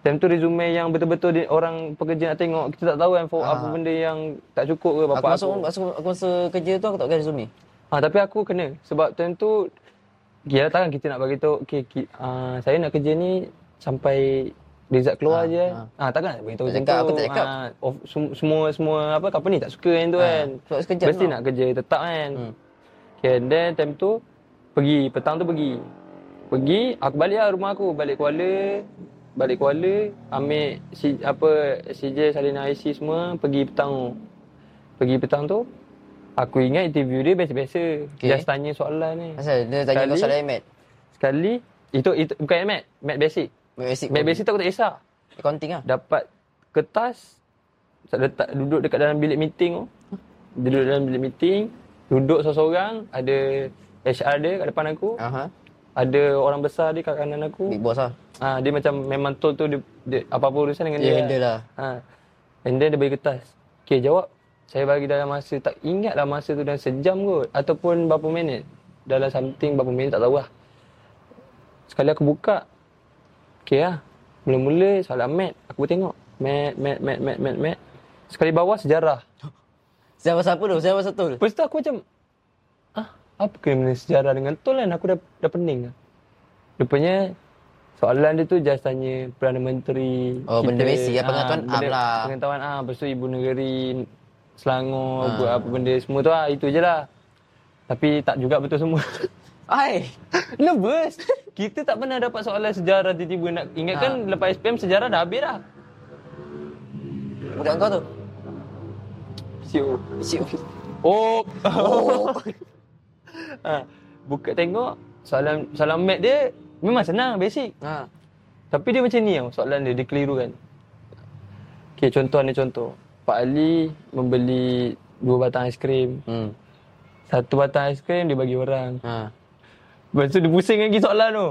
Speaker 2: time tu resume yang betul-betul dia, orang pekerja nak tengok kita tak tahu kan for, apa benda yang tak cukup ke
Speaker 1: Ah. Aku
Speaker 2: bapak
Speaker 1: masuk masuk aku masa kerja tu aku tak pakai resume.
Speaker 2: Ha, tapi aku kena sebab time tu Yalah takkan kita nak bagi tahu okay, ki, uh, saya nak kerja ni sampai result keluar ha, je. Ha. ha takkan nak beritahu
Speaker 1: Ah, Tak
Speaker 2: macam
Speaker 1: cakap,
Speaker 2: tu.
Speaker 1: aku tak cakap.
Speaker 2: Ha, of, sem- semua semua apa company tak suka yang tu
Speaker 1: Ha,
Speaker 2: kan.
Speaker 1: sebab sekejap
Speaker 2: Mesti
Speaker 1: tau.
Speaker 2: nak kerja tetap kan.
Speaker 1: Hmm.
Speaker 2: Hmm. Okay, and then time tu pergi petang tu pergi. Pergi aku balik lah rumah aku balik Kuala balik Kuala ambil si, apa CJ salinan IC semua pergi petang tu. Pergi petang tu aku ingat interview dia biasa-biasa.
Speaker 1: Okay.
Speaker 2: Okay. Just tanya soalan ni.
Speaker 1: Pasal dia tanya kau
Speaker 2: Sekali-
Speaker 1: soalan mat.
Speaker 2: Sekali itu, itu bukan mat, mat basic.
Speaker 1: Mat basic.
Speaker 2: Mat basic tu aku tak kisah.
Speaker 1: accounting ah.
Speaker 2: Dapat kertas tak letak duduk dekat dalam bilik meeting tu. Dia duduk dalam bilik meeting, duduk seorang-seorang, ada HR dia kat depan aku,
Speaker 1: Aha.
Speaker 2: ada orang besar dia kat kanan aku.
Speaker 1: Big boss ah.
Speaker 2: Ha, dia macam memang tol tu dia, dia apa-apa urusan dengan
Speaker 1: Dia
Speaker 2: dia.
Speaker 1: handle lah.
Speaker 2: Ha. And then dia bagi kertas. Okay, jawab. Saya bagi dalam masa, tak ingat lah masa tu dalam sejam kot. Ataupun berapa minit. Dalam something berapa minit tak tahu lah. Sekali aku buka. Okay lah. Mula-mula soalan mat. Aku tengok. Mat, mat, mat, mat, mat, mat. Sekali bawah sejarah.
Speaker 1: Siapa siapa tu? Siapa satu tu?
Speaker 2: Lepas tu aku macam ah, apa kena sejarah dengan tol kan? Aku dah dah pening dah. Rupanya soalan dia tu just tanya Perdana Menteri
Speaker 1: Oh,
Speaker 2: Ah,
Speaker 1: benda basic lah, pengetahuan am
Speaker 2: benda-
Speaker 1: lah.
Speaker 2: Pengetahuan am, lepas tu Ibu Negeri Selangor, buat apa benda semua tu ah itu je lah. Tapi tak juga betul semua. (laughs)
Speaker 1: Ai.
Speaker 2: Nervous. Kita tak pernah dapat soalan sejarah tiba-tiba nak ingatkan
Speaker 1: Ah.
Speaker 2: lepas SPM sejarah dah habis dah.
Speaker 1: Bukan kau tu.
Speaker 2: Siu.
Speaker 1: Siu.
Speaker 2: (laughs) Oh. ha, buka tengok soalan soalan mat dia memang senang basic.
Speaker 1: Ha.
Speaker 2: Tapi dia macam ni tau soalan dia dia keliru kan. Okey contoh ni contoh. Pak Ali membeli dua batang aiskrim.
Speaker 1: Hmm.
Speaker 2: Satu batang aiskrim dia bagi orang.
Speaker 1: Ha.
Speaker 2: Lepas tu dia pusing lagi soalan tu.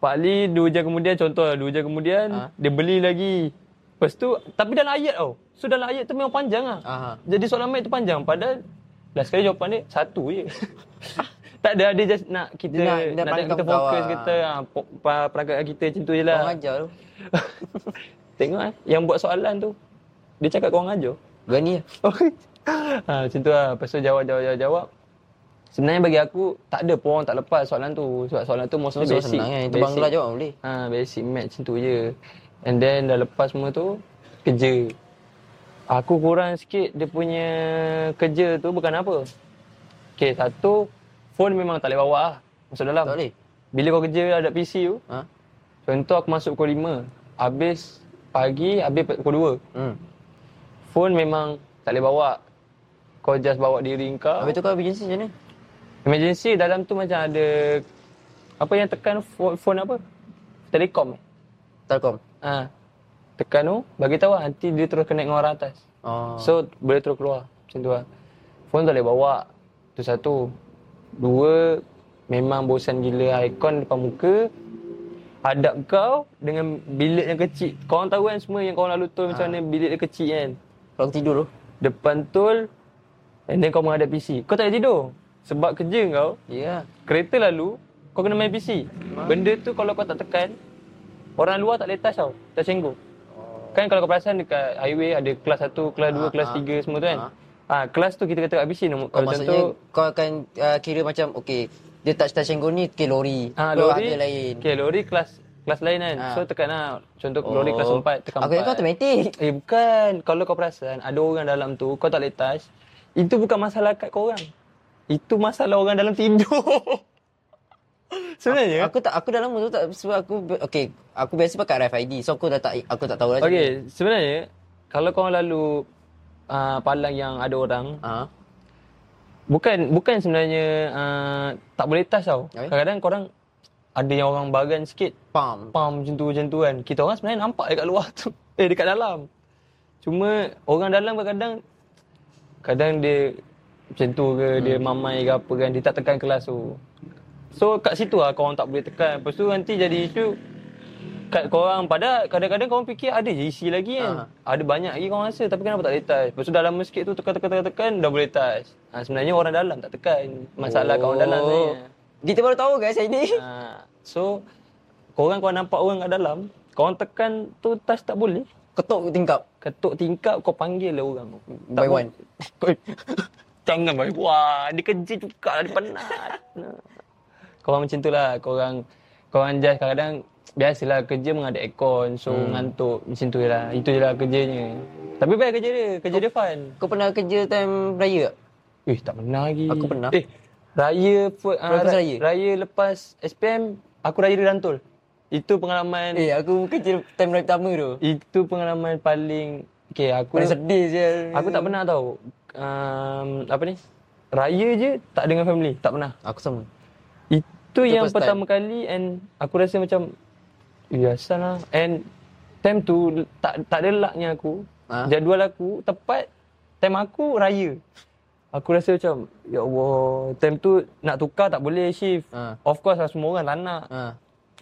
Speaker 2: Pak Ali dua jam kemudian contoh lah, dua jam kemudian
Speaker 1: Ah.
Speaker 2: dia beli lagi. Lepas tu tapi dalam ayat tau. So dalam ayat tu memang panjang ah.
Speaker 1: Aha.
Speaker 2: Jadi soalan mic tu panjang padahal last kali jawapan dia satu je. (laughs) tak ada dia just nak kita
Speaker 1: Dia
Speaker 2: nak,
Speaker 1: nak- dia
Speaker 2: nak,
Speaker 1: pandang
Speaker 2: kita
Speaker 1: kau
Speaker 2: fokus
Speaker 1: lah.
Speaker 2: kita ha, po- pa- perangkat kita macam tu je lah.
Speaker 1: Kau ajar tu.
Speaker 2: (laughs) Tengok eh yang buat soalan tu. Dia cakap kau ajar. (laughs)
Speaker 1: Dua ni.
Speaker 2: Okay. ha, macam tu lah. Lepas tu jawab, jawab, jawab, jawab. Sebenarnya bagi aku, tak ada pun orang tak lepas soalan tu. Sebab soalan tu mostly
Speaker 1: Itu
Speaker 2: basic.
Speaker 1: senang kan. Itu
Speaker 2: Basic.
Speaker 1: Bangla jawab boleh.
Speaker 2: Ha, basic math macam tu je. And then dah lepas semua tu, kerja. Aku kurang sikit dia punya kerja tu bukan apa. Okay, satu, phone memang tak boleh bawa lah. Masuk dalam.
Speaker 1: Tak boleh.
Speaker 2: Bila kau kerja ada PC tu,
Speaker 1: Ha?
Speaker 2: contoh aku masuk pukul 5. Habis pagi, habis pukul 2
Speaker 1: Hmm.
Speaker 2: phone memang tak boleh bawa. Kau just bawa diri kau.
Speaker 1: Habis tu kau emergency macam mana?
Speaker 2: Emergency dalam tu macam ada apa yang tekan phone, phone apa? Telekom. eh?
Speaker 1: Telkom.
Speaker 2: Ha. Tekan tu, bagi tahu lah, nanti dia terus connect dengan orang atas.
Speaker 1: Oh. So,
Speaker 2: So boleh terus keluar. Macam tu lah. Phone tak boleh bawa. Tu satu. Dua, memang bosan gila ikon depan muka. Hadap kau dengan bilik yang kecil. Kau orang tahu kan semua yang kau orang lalu tu macam mana bilik dia kecil kan.
Speaker 1: kalau tidur tu.
Speaker 2: Depan tol And then kau menghadap PC Kau tak boleh tidur Sebab kerja kau
Speaker 1: Ya.
Speaker 2: Kereta lalu Kau kena main PC Benda tu kalau kau tak tekan Orang luar tak boleh touch tau Tersenggol Kan kalau kau perasan dekat highway Ada kelas 1, kelas 2, kelas 3 semua tu kan Ah, Kelas tu kita kata kat PC nombor,
Speaker 1: Kau ah.
Speaker 2: Kalau
Speaker 1: Oh, maksudnya
Speaker 2: contoh
Speaker 1: kau akan uh, kira macam okey, dia touch touch and go ni ke lori.
Speaker 2: ah,
Speaker 1: Kau
Speaker 2: lori,
Speaker 1: ada lain.
Speaker 2: Okay, lori kelas kelas lain kan
Speaker 1: Ah.
Speaker 2: So tekan lah Contoh lori kelas 4 Tekan
Speaker 1: Oh. Aku
Speaker 2: 4
Speaker 1: ingat kau
Speaker 2: (laughs)
Speaker 1: automatic.
Speaker 2: Eh bukan Kalau kau perasan Ada orang dalam tu Kau tak boleh touch Itu bukan masalah kat kau orang Itu masalah orang dalam tidur (laughs) Sebenarnya
Speaker 1: Aku tak aku dah lama tu tak sebab aku okey, aku biasa pakai RFID. So aku dah tak aku tak tahu lah.
Speaker 2: Okay sebenarnya Kalau kau lalu uh, Palang yang ada orang
Speaker 1: Ah.
Speaker 2: Bukan bukan sebenarnya uh, Tak boleh touch tau
Speaker 1: Eh?
Speaker 2: Kadang-kadang korang Ada yang orang bagan sikit
Speaker 1: Pam.
Speaker 2: pam macam tu macam tu kan. Kita orang sebenarnya nampak dekat luar tu. Eh dekat dalam. Cuma orang dalam kadang-kadang kadang dia macam tu ke dia mamai ke apa kan dia tak tekan kelas tu. So kat situ lah korang tak boleh tekan. Lepas tu nanti jadi isu kat korang pada kadang-kadang korang fikir ada je isi lagi kan. Ada banyak lagi korang rasa tapi kenapa tak boleh touch. Lepas tu dah lama sikit tu tekan-tekan-tekan dah boleh touch. Ha, sebenarnya orang dalam tak tekan. Masalah oh. kawan dalam sebenarnya.
Speaker 1: Kita baru tahu guys hari ni.
Speaker 2: (laughs) Ha, so korang kau nampak orang kat dalam, korang tekan tu touch tak boleh.
Speaker 1: Ketuk tingkap.
Speaker 2: Ketuk tingkap kau panggil lah orang. Tak
Speaker 1: By
Speaker 2: boleh. (laughs)
Speaker 1: one.
Speaker 2: Kau- Jangan by one. Dia kerja juga lah, dia penat. (laughs) Nah. korang macam tu lah. Korang, korang just kadang-kadang Biasalah kerja mengada aircon So hmm. ngantuk Macam tu je lah Itu je lah kerjanya Tapi baik kerja dia Kerja dia fun
Speaker 1: Kau pernah kerja time raya tak?
Speaker 2: Eh tak pernah lagi
Speaker 1: Aku pernah.
Speaker 2: Eh Raya pu- ah,
Speaker 1: Lepas
Speaker 2: ra-
Speaker 1: raya?
Speaker 2: Raya lepas SPM Aku raya di Rantul Itu pengalaman
Speaker 1: Eh,
Speaker 2: eh.
Speaker 1: aku kerja time raya pertama tu.
Speaker 2: Itu pengalaman paling Okay aku
Speaker 1: Paling sedih je.
Speaker 2: Aku tak pernah tau um, Apa ni Raya je Tak dengan family Tak pernah
Speaker 1: Aku sama.
Speaker 2: Itu, yang
Speaker 1: first time.
Speaker 2: pertama kali And aku rasa macam Biasa lah And Time tu Tak tak ada lucknya aku
Speaker 1: Ha?
Speaker 2: Jadual aku tepat time aku raya. Aku rasa macam ya Allah, time tu nak tukar tak boleh shift.
Speaker 1: Ha.
Speaker 2: Of course lah semua orang tak nak.
Speaker 1: Ha.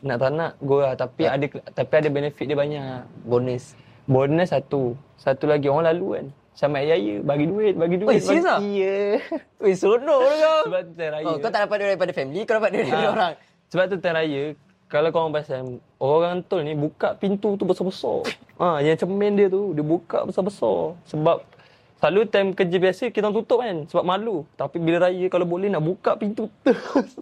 Speaker 2: Nak tak nak go lah tapi ada tapi ada benefit dia banyak.
Speaker 1: Bonus.
Speaker 2: Bonus satu. Satu lagi orang lalu kan. Sama hari raya bagi duit, bagi
Speaker 1: Oi,
Speaker 2: duit.
Speaker 1: serius ah?
Speaker 2: bagi, Ya.
Speaker 1: (laughs) Weh, seronok lah kau.
Speaker 2: Sebab tu time raya.
Speaker 1: Oh, kau tak dapat duit daripada family, kau dapat duit daripada
Speaker 2: Ah.
Speaker 1: orang.
Speaker 2: Sebab tu time raya kalau kau orang pasal orang tol ni buka pintu tu besar-besar. ha, yang cermin dia tu dia buka besar-besar sebab selalu time kerja biasa kita orang tutup kan sebab malu. Tapi bila raya kalau boleh nak buka pintu tu. (laughs)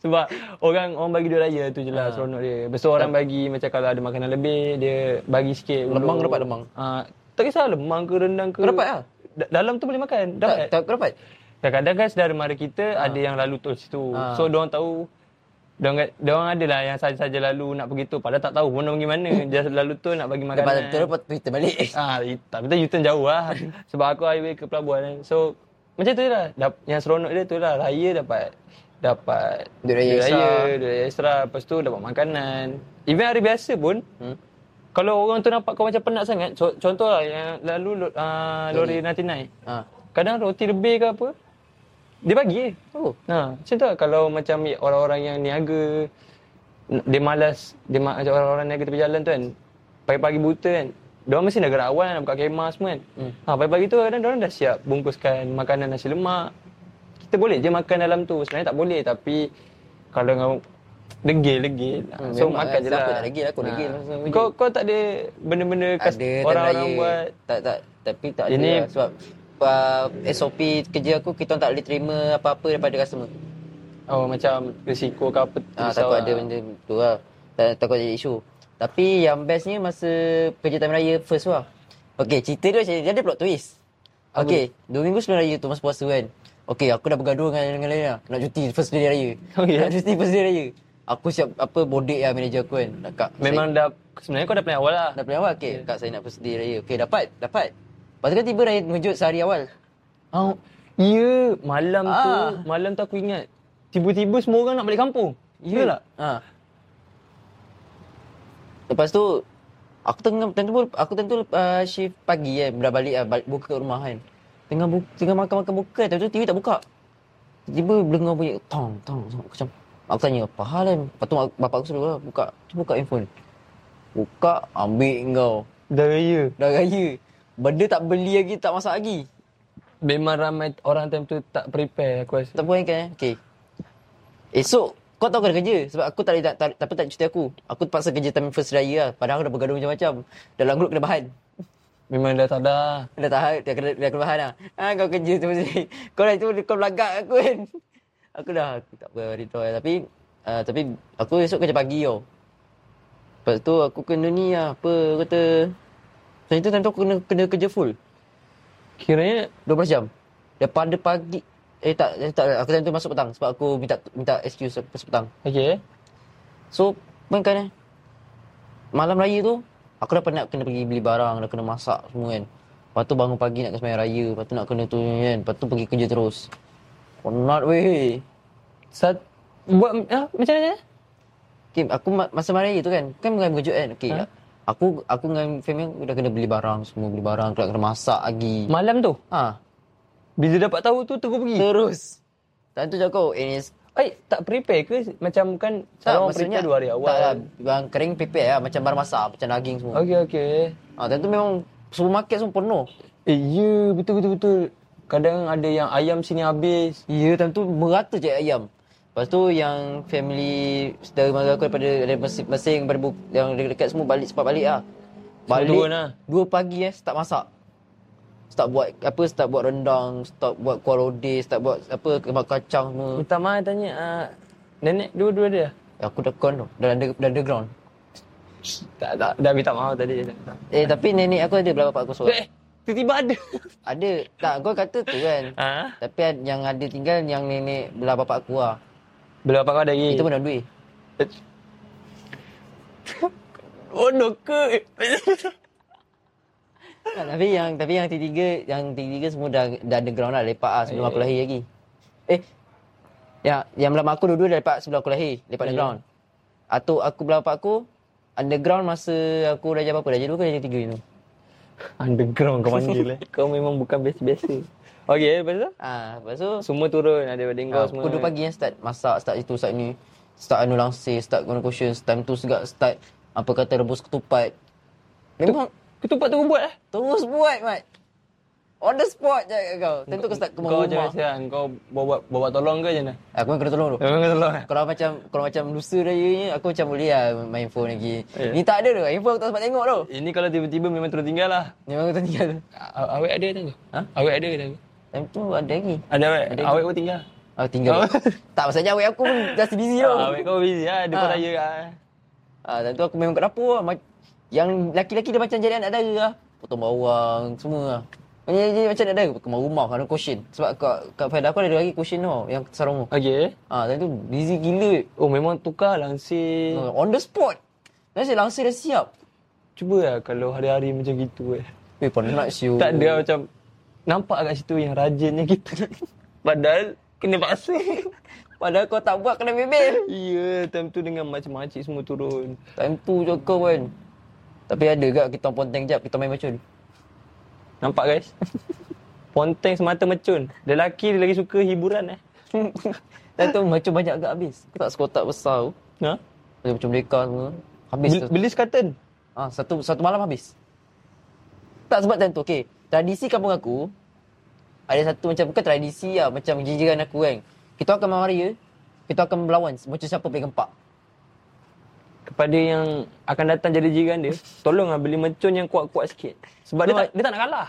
Speaker 2: sebab orang orang bagi duit raya tu je
Speaker 1: Ha.
Speaker 2: lah seronok dia. Lepas tu orang bagi macam kalau ada makanan lebih dia bagi sikit. dulu.
Speaker 1: Lemang dapat lemang?
Speaker 2: Ah, tak kisah lemang ke rendang ke.
Speaker 1: Kau dapat lah?
Speaker 2: Da- Dalam tu boleh
Speaker 1: Tak,
Speaker 2: makan. Dapat.
Speaker 1: tak kau dapat.
Speaker 2: Kadang-kadang kan saudara mara kita
Speaker 1: Ah.
Speaker 2: ada yang lalu tol situ.
Speaker 1: Ha.
Speaker 2: So diorang tahu diorang diorang adalah yang saja-saja lalu nak pergi tu padahal tak tahu pun nak pergi
Speaker 1: (laughs)
Speaker 2: mana. Dia lalu tol nak bagi makanan.
Speaker 1: Dapat tu dapat Twitter balik. (laughs)
Speaker 2: Ah, i- tapi tu U-turn jauh lah. Sebab aku highway ke pelabuhan kan. So macam tu je lah. Dap- Yang seronok dia tu lah. Raya dapat dapat
Speaker 1: Duit raya
Speaker 2: duit
Speaker 1: extra.
Speaker 2: duit raya extra. Lepas tu dapat makanan. Even hari biasa pun
Speaker 1: Hmm.
Speaker 2: kalau orang tu nampak kau macam penat sangat, co- contoh lah yang lalu uh, lori Natinai.
Speaker 1: Ha.
Speaker 2: Kadang roti lebih ke apa Dia bagi eh. je
Speaker 1: Oh.
Speaker 2: ha, Macam tu lah kalau macam orang-orang yang niaga dia malas dia ma- macam orang-orang yang tepi jalan tu kan pagi-pagi buta kan Diorang mesti dah gerak awal nak buka kemah semua kan
Speaker 1: Hmm.
Speaker 2: ha, pagi-pagi tu kadang orang dah siap bungkuskan makanan nasi lemak kita boleh je makan dalam tu sebenarnya tak boleh tapi kalau dengan degil-degil
Speaker 1: Hmm,
Speaker 2: so
Speaker 1: memang
Speaker 2: makan
Speaker 1: kan.
Speaker 2: je lah
Speaker 1: Siapa tak degil? Aku degil masa muda.
Speaker 2: kau, kau tak ada benda-benda kas-
Speaker 1: ada
Speaker 2: orang-orang
Speaker 1: time lain.
Speaker 2: buat
Speaker 1: tak tak tapi tak ada
Speaker 2: Ini-
Speaker 1: lah. sebab uh, SOP kerja aku kita orang tak boleh terima apa-apa daripada customer
Speaker 2: oh macam risiko ke apa tu
Speaker 1: ah,
Speaker 2: risau
Speaker 1: takut
Speaker 2: lah.
Speaker 1: ada benda tu lah tak, takut jadi isu tapi yang bestnya masa kerja time raya first lah Okay, cerita dia macam ni. dia ada plot twist Okay, dua minggu sebelum raya tu masa puasa kan Okay, aku dah bergaduh dengan, dengan Lena Nak cuti first day raya
Speaker 2: Oh, ya?
Speaker 1: Nak cuti first day raya Aku siap apa bodek lah manager aku kan Nak, Kak, saya-
Speaker 2: memang dah sebenarnya kau dah plan awal lah
Speaker 1: Dah plan awal okay. Kak saya nak first day raya. Okay dapat, dapat. Lepas tu kan tiba raya mengejut sehari awal.
Speaker 2: Oh, ya, malam tu,
Speaker 1: Ah.
Speaker 2: malam tu aku ingat. Tiba-tiba semua orang nak balik kampung. Ya lah.
Speaker 1: Ha. Lepas tu aku tengah tentu aku tentu uh, shift pagi kan, dah balik ah balik buka kat rumah kan. Tengah bu, tengah makan-makan buka, tapi tu TV tak buka. Tiba dengar bunyi tong tong tong aku macam aku tanya apa hal kan. Lepas tu mak- bapak aku suruh lah, buka, tu buka handphone. Buka, ambil kau.
Speaker 2: Dah ya. raya.
Speaker 1: Dah raya. Benda tak beli lagi, tak masak lagi.
Speaker 2: Memang ramai orang time tu tak prepare aku rasa.
Speaker 1: Tak bayangkan eh. Okay. Esok kau tahu kena kerja sebab aku tak boleh tak, tak, tak, tak cuti aku. Aku terpaksa kerja time first raya lah. Padahal aku dah bergaduh macam-macam. Dalam grup kena bahan.
Speaker 2: Memang dah tak ada.
Speaker 1: Dah tahan, dah kena, dah kena bahan lah. Ha, kau kerja tu sini. (laughs) Kau dah tu kau belagak aku kan. (laughs) Aku dah aku tak apa hari tu lah. Tapi uh, tapi aku esok kerja pagi tau. Lepas tu aku kena ni lah apa kata. Sebab itu time tu aku kena, kena kerja full.
Speaker 2: Kiranya
Speaker 1: 12 jam. Daripada pagi eh tak eh, tak aku time tu masuk petang sebab aku minta minta excuse aku masuk petang.
Speaker 2: okey.
Speaker 1: So, bayangkan eh. Malam raya tu, aku dah penat kena pergi beli barang, dah kena masak semua kan. Lepas tu bangun pagi nak ke sembahyang raya, lepas tu nak kena tu ni kan, lepas tu pergi kerja terus. Penat weh.
Speaker 2: Sat buat ah, macam mana?
Speaker 1: Okay, aku ma- masa malam raya tu kan, kan mengalami kejut kan. Okay,
Speaker 2: Ha?
Speaker 1: aku aku dengan family aku dah kena beli barang semua, beli barang, kena, kena masak lagi.
Speaker 2: Malam tu.
Speaker 1: ha,
Speaker 2: Bila dapat tahu tu terus pergi.
Speaker 1: terus. Time tu je aku, eh,
Speaker 2: Eh, tak prepare ke? Macam kan
Speaker 1: tak,
Speaker 2: orang
Speaker 1: maksudnya
Speaker 2: prepare dua hari awal.
Speaker 1: Tak lah, bang kering prepare lah, macam barang masak, macam daging semua.
Speaker 2: Okey okey.
Speaker 1: Ha, time tu memang supermarket semua penuh.
Speaker 2: Eh, ya, betul betul betul. Kadang ada yang ayam sini habis.
Speaker 1: Ya, time tu merata je ayam. Lepas tu yang family saudara mara aku daripada dari Mesing, Mesing daripada Buk, yang dekat semua balik cepat balik lah.
Speaker 2: Semua
Speaker 1: Balik
Speaker 2: turun lah.
Speaker 1: 2 pagi eh start masak. Start buat apa start buat rendang, start buat kuah lodeh, start buat apa kemak kacang semua.
Speaker 2: Minta maaf tanya ah, nenek dua-dua dia.
Speaker 1: Aku dah kon tu, dah ada dah underground.
Speaker 2: Tak, tak. Dah minta maaf tadi.
Speaker 1: Eh tapi nenek aku ada belah bapak aku seorang.
Speaker 2: Eh, tiba-tiba ada.
Speaker 1: Ada. Tak kau kata tu kan.
Speaker 2: Ha?
Speaker 1: Tapi yang ada tinggal yang nenek belah bapak aku lah.
Speaker 2: Belum apa kau ada lagi?
Speaker 1: Itu pun dah duit.
Speaker 2: (laughs) Bodoh Oh, ke?
Speaker 1: Tak, tapi yang tapi yang tiga yang tiga semua dah dah underground lah lepak ah sebelum
Speaker 2: Ya,
Speaker 1: aku lahir lagi. Eh yang yang lama aku dua-dua dah lepak sebelum aku lahir, lepak
Speaker 2: Ya.
Speaker 1: underground. Atau aku belah bapak aku underground masa aku dah jadi apa dah jadi dua ke dah jadi tiga tu.
Speaker 2: Underground kau panggil eh. (laughs) Kau memang bukan biasa-biasa. Okey, lepas tu?
Speaker 1: Ah, lepas tu
Speaker 2: Semua turun. Ada pada kau
Speaker 1: ah,
Speaker 2: semua.
Speaker 1: pukul 2 pagi yang start masak, start itu start ni. Start anu langsir, start guna cushion, time tu juga start apa kata rebus ketupat. Memang
Speaker 2: Ketupat tu kau buat eh?
Speaker 1: terus buat, Mat. On the spot je kat kau. Tentu kau start kembang
Speaker 2: Kau je
Speaker 1: rumah.
Speaker 2: macam kau bawa bawa tolong ke je nak?
Speaker 1: Aku memang kena tolong tu.
Speaker 2: Memang kau tolong eh?
Speaker 1: Kalau macam kalau macam lusa raya ni aku macam boleh lah main phone lagi.
Speaker 2: Eh.
Speaker 1: Ni tak ada tu. Handphone aku tak sempat tengok tu.
Speaker 2: Ini kalau tiba-tiba memang terus tinggal lah.
Speaker 1: Ni memang aku tak tinggal tu.
Speaker 2: A- Awet ada tak?
Speaker 1: Ha?
Speaker 2: Awet ada tak?
Speaker 1: Time tu ada lagi.
Speaker 2: Ada awet.
Speaker 1: Ada.
Speaker 2: Awet pun tinggal.
Speaker 1: Aku tinggal.
Speaker 2: Oh.
Speaker 1: (laughs) tak pasal jawab aku pun just busy tu.
Speaker 2: Ah, Awet kau busy lah. Ada
Speaker 1: Ah.
Speaker 2: pun raya lah.
Speaker 1: Ah, time tu aku memang kat dapur lah. Ma- Yang laki-laki dia macam jadi anak dara lah. Potong bawang, semua lah. Macam, macam, macam anak dara, kemar rumah, kena cushion. Sebab kat, kat pada aku ada lagi cushion tau, yang sarung tu.
Speaker 2: Okey.
Speaker 1: Ah, time tu busy gila.
Speaker 2: Oh, memang tukar langsir.
Speaker 1: On the spot. Nasib langsir dah siap.
Speaker 2: Cuba lah kalau hari-hari macam gitu eh.
Speaker 1: Eh, penat siu.
Speaker 2: Tak ada lah, macam nampak kat situ yang rajinnya kita. (laughs) Padahal kena paksa.
Speaker 1: Padahal kau tak buat kena bebel.
Speaker 2: (laughs) ya, time tu dengan macam-macam semua turun.
Speaker 1: Time tu je kau kan. Tapi ada gak kita orang ponteng jap, kita main macul.
Speaker 2: Nampak guys? (laughs) Ponteng semata mecun. Lelaki dia lagi suka hiburan eh.
Speaker 1: Time tu macul banyak gak habis. Aku tak sekotak besar tu.
Speaker 2: Ha?
Speaker 1: Dia macam deka semua. Habis
Speaker 2: Beli,
Speaker 1: tu.
Speaker 2: beli sekatan.
Speaker 1: Ah, satu satu malam habis. Tak sebab time tu. Okey, tradisi kampung aku ada satu macam bukan tradisi lah, macam jiran aku kan. Kita akan malam raya, kita akan melawan macam siapa paling gempak.
Speaker 2: Kepada yang akan datang jadi jiran dia, tolonglah beli mercun yang kuat-kuat sikit. Sebab dia tak dia tak nak kalah.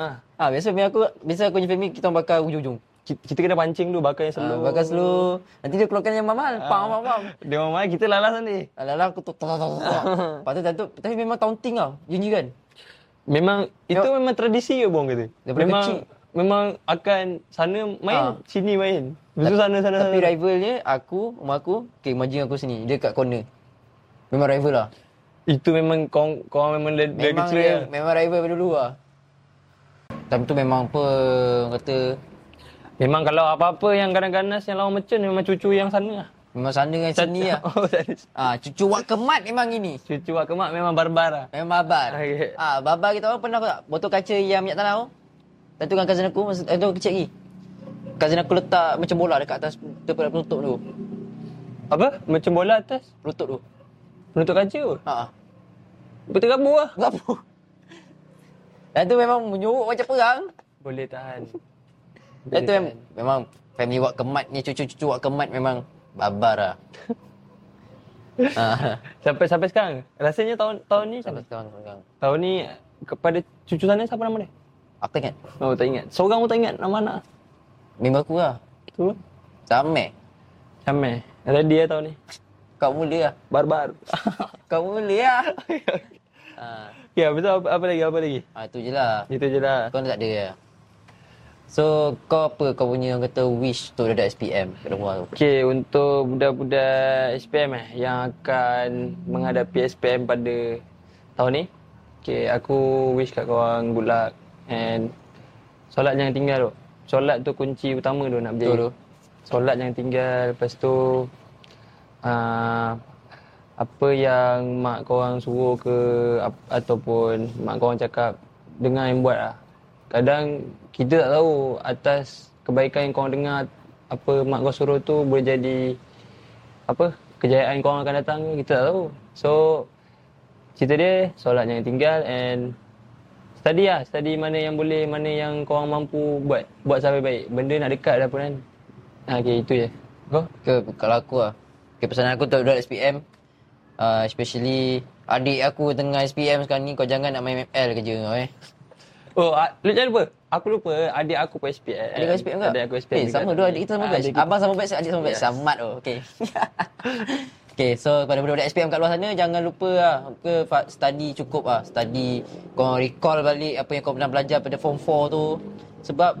Speaker 2: Ha.
Speaker 1: Ah, biasa family aku, biasa aku punya family kita orang bakar hujung-hujung.
Speaker 2: Kita, kita kena pancing dulu bakar yang
Speaker 1: Ah,
Speaker 2: selalu.
Speaker 1: bakar slow. Nanti dia keluarkan yang mahal, pam pam pam.
Speaker 2: Dia memang kita lalas nanti.
Speaker 1: Alah aku tu tak tak tak.
Speaker 2: (laughs)
Speaker 1: tak. Lepas tu time tu tapi memang taunting tau, kan? jiran.
Speaker 2: Memang itu memang tradisi ke bang kata.
Speaker 1: Daripada
Speaker 2: memang
Speaker 1: kecil.
Speaker 2: memang akan sana main,
Speaker 1: Ah.
Speaker 2: sini main. Lepas tu sana sana.
Speaker 1: Tapi
Speaker 2: sana.
Speaker 1: rival dia aku, rumah aku, okey majin aku sini, dia kat corner. Memang rival lah.
Speaker 2: Itu memang kau kau memang dari, dari
Speaker 1: Memang
Speaker 2: kecil.
Speaker 1: dia,
Speaker 2: dah.
Speaker 1: memang rival daripada dulu lah. Time tu memang apa orang kata
Speaker 2: Memang kalau apa-apa yang ganas-ganas yang lawan mercun memang cucu yang sana lah.
Speaker 1: memang sana dengan sini lah.
Speaker 2: (laughs) Oh, tadi.
Speaker 1: Ah, cucu wak kemat memang gini.
Speaker 2: Cucu Wak Kemak memang barbar lah.
Speaker 1: Memang babar.
Speaker 2: Okey.
Speaker 1: Ah, babar kita orang pernah kau tak botol kaca yang minyak tanah tu. Lepas tu dengan cousin aku masa eh, tu aku kecil lagi. Cousin aku letak macam bola dekat atas tempat penutup tu.
Speaker 2: Apa? Macam bola atas.
Speaker 1: Penutup tu.
Speaker 2: Penutup kaca tu.
Speaker 1: Ha ah.
Speaker 2: Betul kamu lah.
Speaker 1: Enggak apa. Dan tu memang menyuruk macam perang.
Speaker 2: Boleh tahan.
Speaker 1: Dan tu mem- memang family wak kemat ni cucu-cucu wak kemat memang babar lah. ah.
Speaker 2: Sampai sampai sekarang. Rasanya tahun tahun ni
Speaker 1: Sampai sekarang sekarang.
Speaker 2: tahun ni kepada cucu sana siapa nama dia?
Speaker 1: Aku ingat
Speaker 2: Oh tak ingat. Seorang pun tak ingat nama anak.
Speaker 1: kan? Member aku lah
Speaker 2: Tu.
Speaker 1: Samir
Speaker 2: Sampai. Ada dia tahun ni.
Speaker 1: Kau mula lah
Speaker 2: Barbar. (laughs)
Speaker 1: Kau mula lah ha.
Speaker 2: okay, habis tu apa, apa lagi? Apa lagi?
Speaker 1: ha, Itu je lah
Speaker 2: Itu je lah.
Speaker 1: Kau tak ada lah So kau apa kau punya orang kata wish untuk dadak SPM kat rumah tu
Speaker 2: Okey, untuk budak-budak SPM eh yang akan menghadapi SPM pada tahun ni. Okey, aku wish kat korang good luck and solat jangan tinggal tu. Solat tu kunci utama tu nak berjaya.
Speaker 1: Betul tu.
Speaker 2: Solat jangan tinggal, lepas tu uh, apa yang mak korang suruh ke ap- ataupun mak korang cakap dengar yang buat lah. Kadang kita tak tahu atas kebaikan yang korang dengar apa mak kau suruh tu boleh jadi apa kejayaan korang akan datang ke, kita tak tahu. So cerita dia solat jangan tinggal and study lah study mana yang boleh mana yang korang mampu buat buat sampai baik benda nak dekat dah pun kan ha, okay, itu je kau
Speaker 1: Ke kalau aku lah okay, pesanan aku untuk dadak SPM uh, Especially adik aku tengah SPM sekarang ni kau jangan nak main ML kerja kau eh
Speaker 2: oh a- lu jangan lupa aku lupa adik aku pun SPM
Speaker 1: Adik kau SPM ke?
Speaker 2: adik aku SPM
Speaker 1: Eh, sama dua adik kita
Speaker 2: Ah,
Speaker 1: sama batch. Abang sama batch, adik sama batch. Samat oh. Okey. (laughs) Okey, so pada budak-budak SPM kat luar sana jangan lupa lah ke fa- study cukup ah. Study kau recall balik apa yang kau pernah belajar pada form 4 tu. Sebab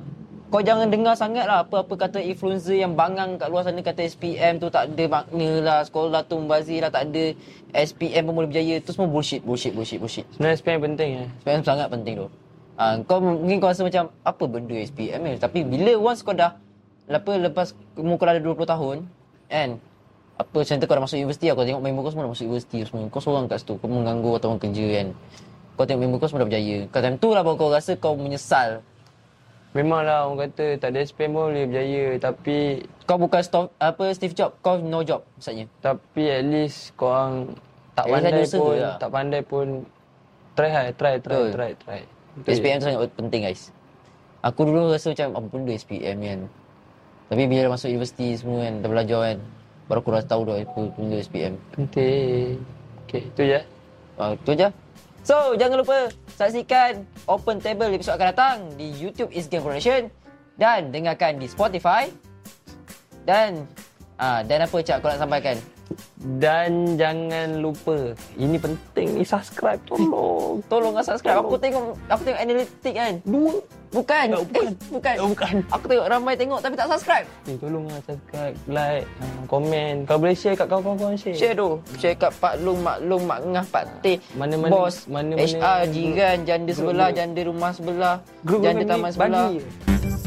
Speaker 1: kau jangan dengar sangat lah apa-apa kata influencer yang bangang kat luar sana kata SPM tu tak ada makna lah. Sekolah tu mubazir lah tak ada. SPM pemula berjaya tu semua bullshit, bullshit, bullshit, bullshit.
Speaker 2: sebenarnya SPM penting eh
Speaker 1: SPM sangat penting tu. Ha, kau mungkin kau rasa macam apa benda SPM ni tapi bila once kau dah lepas lepas umur kau dah ada 20 tahun kan apa macam tu kau dah masuk universiti lah. kau tengok member kau semua dah masuk universiti semua kau seorang kat situ kau mengganggu atau orang kerja kan kau tengok member kau semua dah berjaya kat time tu lah baru kau rasa kau menyesal
Speaker 2: memanglah lah orang kata tak ada SPM pun boleh berjaya tapi
Speaker 1: kau bukan stop, apa Steve Jobs kau no job misalnya
Speaker 2: Tapi at least korang
Speaker 1: At
Speaker 2: tak
Speaker 1: least
Speaker 2: pandai
Speaker 1: ada usaha
Speaker 2: pun,
Speaker 1: lah.
Speaker 2: tak pandai pun try lah, try, try,
Speaker 1: Betul.
Speaker 2: try, try. Eh, Betul.
Speaker 1: SPM tu sangat penting guys aku dulu rasa macam apa benda SPM ni kan tapi bila dah masuk universiti semua kan dah belajar kan baru aku dah tahu dah apa benda SPM
Speaker 2: Penting. Okay, itu je.
Speaker 1: Ah, itu je. So, jangan lupa saksikan Open Table episod akan datang di YouTube Is Game Production dan dengarkan di Spotify dan ah dan apa cak kau nak sampaikan?
Speaker 2: Dan jangan lupa, ini penting ni subscribe tolong.
Speaker 1: Tolonglah lah subscribe. Aku tengok aku tengok analitik kan.
Speaker 2: Dua.
Speaker 1: Bukan.
Speaker 2: Oh, bukan.
Speaker 1: Eh, bukan.
Speaker 2: Oh, bukan.
Speaker 1: Aku tengok ramai tengok tapi tak subscribe.
Speaker 2: Eh, tolong lah subscribe, like, ah, komen. Kalau boleh share kat kawan-kawan korang, share.
Speaker 1: Share tu. Share kat Pak Long, Mak Long, Mak Ngah, Pak Teh,
Speaker 2: Mana-mana-
Speaker 1: bos,
Speaker 2: mana-mana
Speaker 1: HR,
Speaker 2: group-
Speaker 1: jiran, janda
Speaker 2: group-
Speaker 1: sebelah,
Speaker 2: group.
Speaker 1: janda rumah sebelah,
Speaker 2: Grup-grup
Speaker 1: janda
Speaker 2: ni
Speaker 1: taman sebelah.
Speaker 2: Bagi.